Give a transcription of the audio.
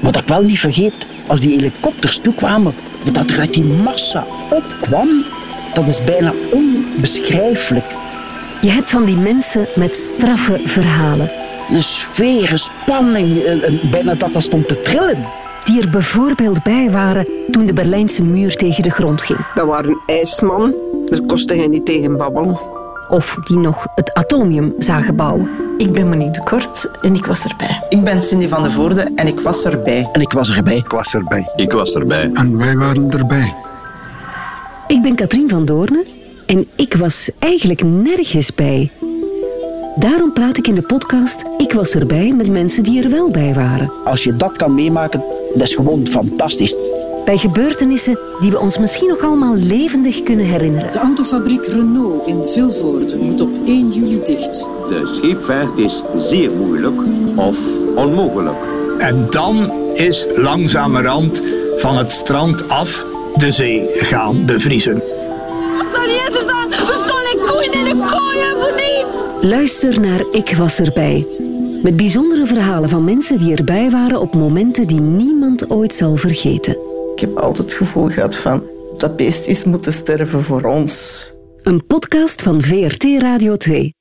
Wat ik wel niet vergeet, als die helikopters toekwamen, wat dat er uit die massa opkwam, dat is bijna onbeschrijfelijk. Je hebt van die mensen met straffe verhalen. Een sfeer, een spanning, een- een- bijna dat dat stond te trillen. Die er bijvoorbeeld bij waren toen de Berlijnse muur tegen de grond ging. Dat waren ijsman. Daar kostte hij niet tegen babbelen. Of die nog het atomium zagen bouwen. Ik ben Monique de Kort en ik was erbij. Ik ben Cindy van de Voorde en ik was erbij. En ik was erbij. Ik was erbij. Ik was erbij. En wij waren erbij. Ik ben Katrien van Doornen en ik was eigenlijk nergens bij. Daarom praat ik in de podcast Ik was erbij met mensen die er wel bij waren. Als je dat kan meemaken, dat is gewoon fantastisch. Bij gebeurtenissen die we ons misschien nog allemaal levendig kunnen herinneren. De autofabriek Renault in Vilvoorde moet op 1 juli dicht. De scheepvaart is zeer moeilijk of onmogelijk. En dan is langzamerhand van het strand af de zee gaan bevriezen. Luister naar Ik was erbij. Met bijzondere verhalen van mensen die erbij waren op momenten die niemand ooit zal vergeten. Ik heb altijd het gevoel gehad van dat beest is moeten sterven voor ons. Een podcast van VRT Radio 2.